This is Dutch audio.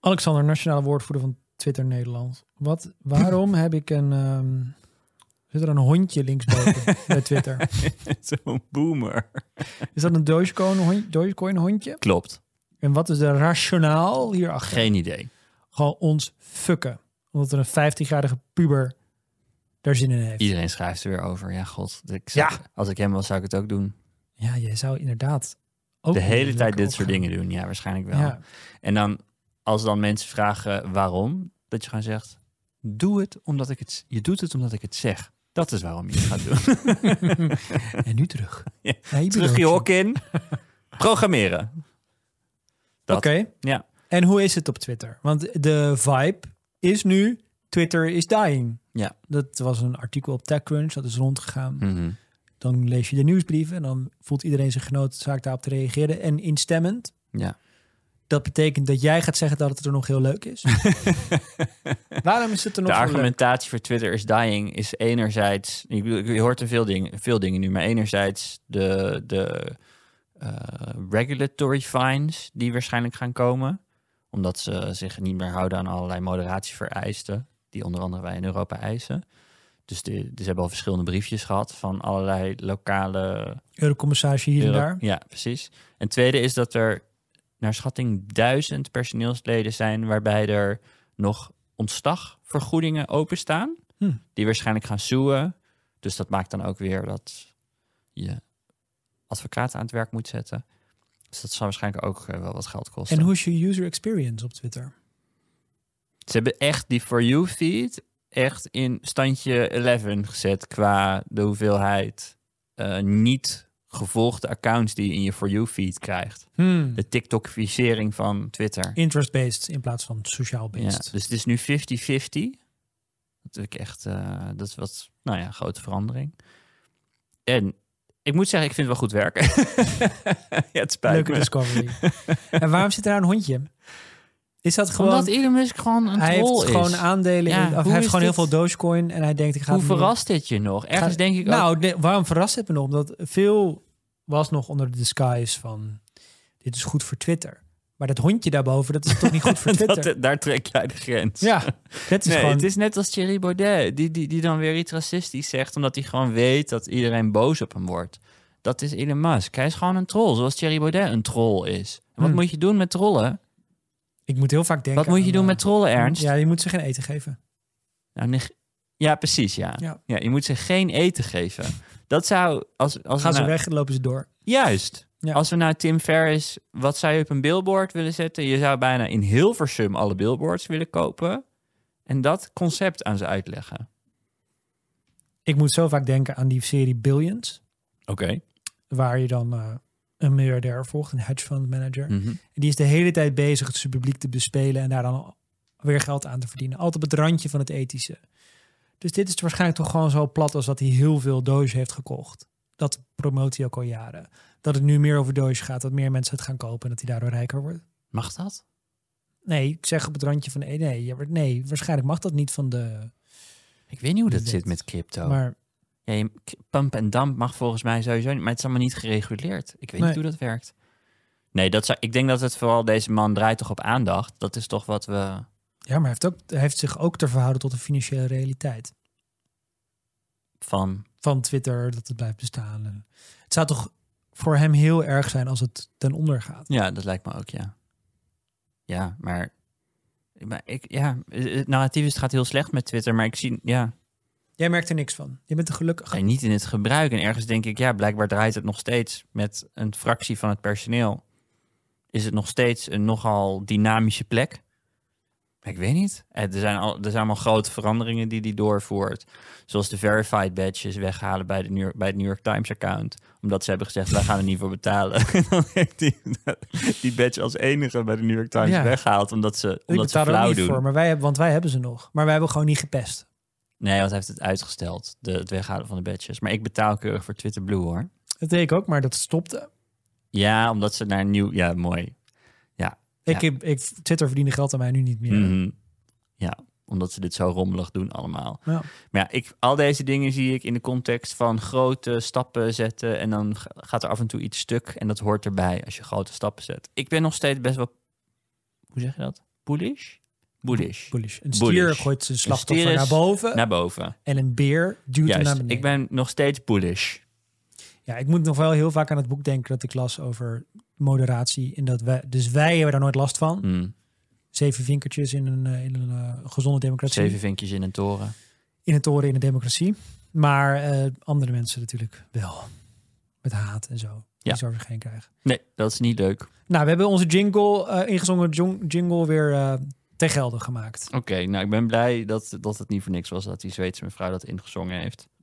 Alexander, nationale woordvoerder van Twitter Nederland. Wat, waarom heb ik een... ehm, zit er een hondje linksboven bij Twitter? Zo'n boomer. Is dat een Dogecoin, hon- Dogecoin hondje? Klopt. En wat is de rationaal hierachter? Geen idee. Gewoon ons fucken. Omdat er een 15-jarige puber daar zin in heeft. Iedereen schrijft er weer over. Ja, god. Ik zou- Ja. Als ik hem was, zou ik het ook doen. Ja, jij zou inderdaad ook De hele lekker tijd dit soort opgaan. dingen doen. Ja, waarschijnlijk wel. Ja. En dan, als dan mensen vragen waarom, dat je gewoon zegt: Doe het omdat ik het. Je doet het omdat ik het zeg. Dat is waarom je het gaat doen. En nu terug. Ja. Naar je Terug je bureautje. hok in. Programmeren. Oké. dat. Ja. En hoe is het op Twitter? Want de vibe is nu Twitter is dying. Ja. Hm. Dat was een artikel op TechCrunch, dat is rondgegaan. Mhm. Dan lees je de nieuwsbrieven en dan voelt iedereen zich genoodzaakt daarop te reageren. En instemmend. Ja. Dat betekent dat jij gaat zeggen dat het er nog heel leuk is. Waarom is het er nog De heel leuk? argumentatie voor Twitter is dying is enerzijds. Ik bedoel, je hoort er veel dingen, veel dingen nu, maar enerzijds de, de eh, regulatory fines die waarschijnlijk gaan komen. Omdat ze zich niet meer houden aan allerlei moderatievereisten. Die onder andere wij in Europa eisen. Dus, de, dus ze hebben al verschillende briefjes gehad van allerlei lokale Eurocommissaris hier en Euro- daar. Ja, precies. En tweede is dat er naar schatting duizend personeelsleden zijn waarbij er nog ontslagvergoedingen openstaan. Hm. Die waarschijnlijk gaan zoeën. Dus dat maakt dan ook weer dat je advocaat aan het werk moet zetten. Dus dat zal waarschijnlijk ook eh, wel wat geld kosten. En hoe is je user experience op Twitter? Ze hebben echt die For You feed echt in standje 11 gezet qua de hoeveelheid eh, niet gevolgde accounts die je in je For You feed krijgt. Hmm. De TikTokificering van Twitter. Interest-based in plaats van Ja, sociaal-based. dus het is nu 50-50. Dat vind ik echt, eh, dat is wat, nou ja, grote verandering. En ik moet zeggen, ik vind het wel goed werken. ja, het spijt Leuke me. discovery. en waarom zit daar een hondje? Is dat gewoon... Omdat Elon Musk gewoon een hij troll heeft is. gewoon aandelen. Ja, in, hoe of hij heeft is gewoon heel dit? veel Dogecoin. En hij denkt, ik ga Hoe het niet doen. verrast dit je nog? Ergens Ga- denk ik ook, Nou, nee, waarom verrast het me nog? Omdat veel was nog onder de disguise van... Dit is goed voor Twitter. Maar dat hondje daarboven, dat is toch niet goed voor Twitter? dat, daar trek jij de grens. ja, dat is nee, gewoon... het is net als Thierry Baudet, die, die, die dan weer iets racistisch zegt, omdat hij gewoon weet dat iedereen boos op hem wordt. Dat is Elon Musk. Hij is gewoon een troll, zoals Thierry Baudet een troll is. En wat Hmm. moet je doen met trollen? ik moet heel vaak denken Wat moet je aan, doen eh, met trollen, Ernst? Ja, je moet ze geen eten geven. Nou, neg- ja precies, ja. Ja. ja. Je moet ze geen eten geven. Dat zou... Als, als Gaan we ze nou- weg, dan lopen ze door. Juist. Ja. Als we nou Tim Ferriss, wat zou je op een billboard willen zetten? Je zou bijna in Hilversum alle billboards willen kopen. En dat concept aan ze uitleggen. Ik moet zo vaak denken aan die serie Billions. Oké. Waar je dan eh, een miljardair volgt, een hedge fund manager. Mhm. En Die is de hele tijd bezig het zijn publiek te bespelen en daar dan weer geld aan te verdienen. Altijd op het randje van het ethische. Dus dit is waarschijnlijk toch gewoon zo plat als dat hij heel veel Doge heeft gekocht. Dat promoot hij ook al jaren. Dat het nu meer over Doge gaat, dat meer mensen het gaan kopen en dat hij daardoor rijker wordt. Mag dat? Nee, ik zeg op het randje van e-, nee, nee, ja, maar nee waarschijnlijk mag dat niet van de. Ik weet niet hoe dat Wie zit weet. met crypto. Dus Maar Ja, je- k- pump en dump mag volgens mij sowieso niet, maar het is allemaal niet gereguleerd. Ik weet Nee. niet hoe dat werkt. Nee, dat zou, ik denk dat het vooral deze man draait toch op aandacht. Dat is toch wat we. ja, maar hij heeft, ook, hij heeft zich ook te verhouden tot de financiële realiteit. van. Van Twitter, dat het blijft bestaan. En Het zou toch voor hem heel erg zijn als het ten onder gaat. Ja, dat lijkt me ook, ja. Ja, maar. maar ik, ja, het narratief is, het gaat heel slecht met Twitter, maar ik zie. Ja, Jij merkt er niks van. Je bent er gelukkig. en niet in het gebruik. En ergens denk ik, ja, blijkbaar draait het nog steeds met een fractie van het personeel. Is het nog steeds een nogal dynamische plek? Ik weet niet. Eh, Er zijn, al, er zijn allemaal grote veranderingen die die doorvoert. Zoals de verified badges weghalen bij, de New York, bij het New York Times account. Omdat ze hebben gezegd, wij gaan er niet voor betalen. En dan heeft die, die badge als enige bij de New York Times Ja. weggehaald. Omdat ze, Ik omdat ze betaal er ook flauw niet doen. voor, maar wij hebben, want wij hebben ze nog. Maar wij hebben gewoon niet gepest. Nee, want hij heeft het uitgesteld. De, het weghalen van de badges. Maar ik betaal keurig voor Twitter Blue hoor. Dat deed ik ook, maar dat stopte. Ja, omdat ze naar een nieuw... Ja, mooi. Ik, heb- ik, Twitter verdiende geld aan mij nu niet meer. Mhm. Ja, omdat ze dit zo rommelig doen allemaal. Ja. Maar ja, ik, al deze dingen zie ik in de context van grote stappen zetten. En dan ga- gaat er af en toe iets stuk. En dat hoort erbij als je grote stappen zet. Ik ben nog steeds best wel... Hoe zeg je dat? Bullish? Bullish. Bullish. Een stier Bullish. gooit zijn Een slachtoffer stier naar is boven Naar boven. en een beer duwt eh, hem naar Juist. beneden. Ik ben nog steeds bullish. Ja, ik moet nog wel heel vaak aan het boek denken dat ik las over moderatie. En dat wij, dus wij hebben daar nooit last van. Mm. Zeven vinkertjes in een, eh, in een eh, gezonde democratie. Zeven vinkjes in een toren. In het toren in een democratie. Maar eh, andere mensen natuurlijk wel. Met haat en zo. Die Ja. zouden ze geen krijgen. Nee, dat is niet leuk. Nou, we hebben onze jingle, eh, ingezongen jong- jingle, weer eh ten gelde gemaakt. Oké, nou ik ben blij dat, dat het niet voor niks was dat die Zweedse mevrouw dat ingezongen heeft.